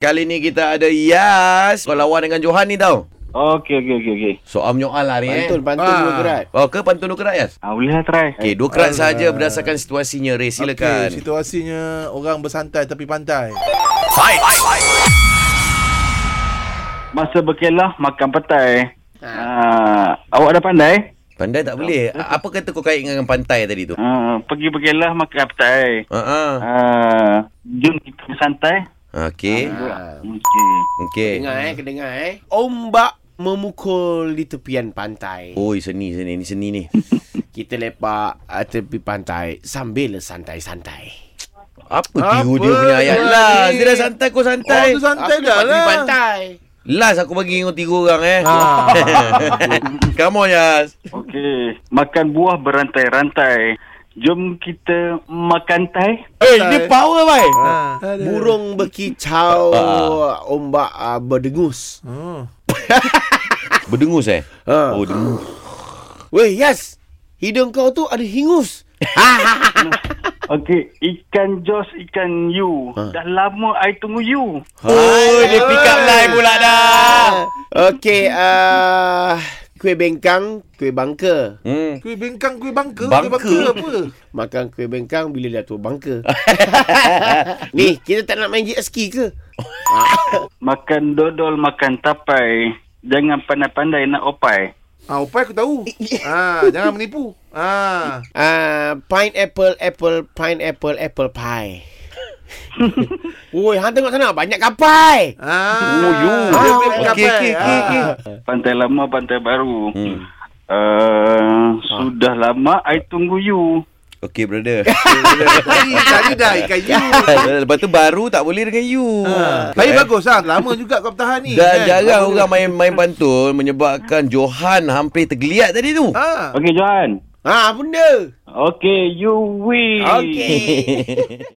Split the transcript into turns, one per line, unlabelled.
Kali ni kita ada Yas Kau lawan dengan Johan ni tau
Okey, okey, okey, okey.
Soal menyoal lah ni
Pantun,
eh
pantun
Ah.
dua kerat.
Oh ke pantun dua kerat Yas?
Ah, bolehlah try.
Okey dua kerat
Alah.
saja berdasarkan situasinya Ray
Okey,
silakan
situasinya orang bersantai tapi pantai.
Masa berkelah makan petai. Ah, awak dah pandai?
Pandai tak boleh Apa kata kau kait dengan pantai tadi tu? Ha,
Ah, pergi berkelah makan petai.
Ha-ha.
Ah, jom kita bersantai.
Okey
Ha.
Okey.
Okey
Dengar eh, kedengar eh. Ombak memukul di tepian pantai.
Oi seni seni ni seni ni
Kita lepak ah, tepi pantai sambil santai-santai.
Apa
Apa
tiru dia punya ayat
kau
Lah
ni?
dia dah santai kau santai
Oh, tu santai
Aku lepak
dah lah.
tepi pantai.
Last aku bagi kau tiru orang eh
Ah.
Come on Yas
Okey. Makan buah berantai-rantai. Jom kita makan tai.
Eh dia power bai
Aduh.
Burung berkicau, ombak ah, berdengus.
Oh.
Berdengus eh
Ha.
Oh dengus
Weh, Yas. Hidung kau tu ada hingus.
Okey, ikan jos, ikan you. Dah lama I tunggu you.
Oh dia pick up line pula dah
Okey, ah kuih bengkang, kuih bangka.
Hmm
Kuih bengkang, kuih bangka,
Bangka.
kuih bangka apa?
Makan kuih bengkang bila dah tua bangka. Ni, kita tak nak main jet ski ke?
Makan dodol, makan tapai. Jangan pandai-pandai nak opai.
Ah, upai aku tahu. ah, jangan menipu. Ah.
Ah, pineapple, apple, pineapple, apple pie. Woi, hang tengok sana banyak kapai.
Ah.
Oh, you.
Dia punya
Okey,
kapai.
okey, okey,
Ah.
okey.
Pantai lama, pantai baru.
Hmm.
Uh, Sudah lama I tunggu you.
Okay brother
Tadi, tadi dah ikan you.
Ah. Lepas tu baru tak boleh dengan you
Ah. Tapi bagus lah. Lama juga kau bertahan ni.
Dan
kan?
jarang orang main main pantun Menyebabkan Johan hampir tergeliat tadi tu
Ah.
Ah,
Okey Johan.
Ha, benda.
Okey, you win.
Okey.